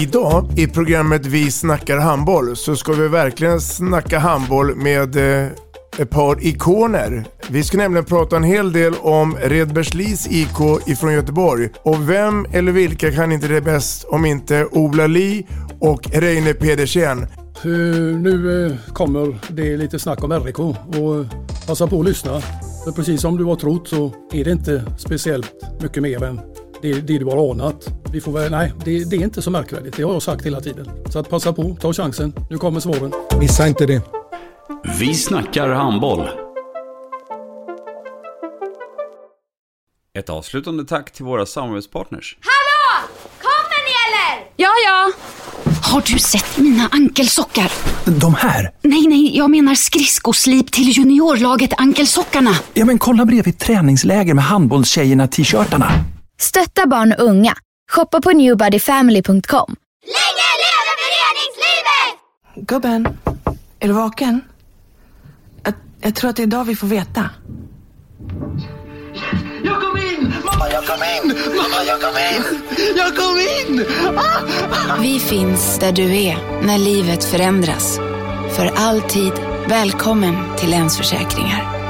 Idag i programmet Vi snackar handboll så ska vi verkligen snacka handboll med eh, ett par ikoner. Vi ska nämligen prata en hel del om Redbergslis IK ifrån Göteborg. Och vem eller vilka kan inte det bäst om inte Ola Li och Reine Pedersen. Eh, Nu eh, kommer det lite snack om RIK och eh, passa på att lyssna. För precis som du har trott så är det inte speciellt mycket mer än det, det du har anat. Vi får väl, nej, det, det är inte så märkvärdigt. Det har jag sagt hela tiden. Så att passa på, ta chansen. Nu kommer svaren. Missa inte det. Vi snackar handboll. Ett avslutande tack till våra samarbetspartners. Hallå! Kommer ni eller? Ja, ja. Har du sett mina ankelsockar? De här? Nej, nej, jag menar skridskoslip till juniorlaget Ankelsockarna. Ja, men kolla bredvid träningsläger med handbollstjejerna-t-shirtarna. Stötta barn och unga. Shoppa på newbodyfamily.com. Länge leve föreningslivet! Gubben, är du vaken? Jag, jag tror att det är idag vi får veta. Jag kom in! Mamma, jag kom in! Mamma, jag kom in! Jag kom in! Ah! Vi finns där du är när livet förändras. För alltid välkommen till Länsförsäkringar.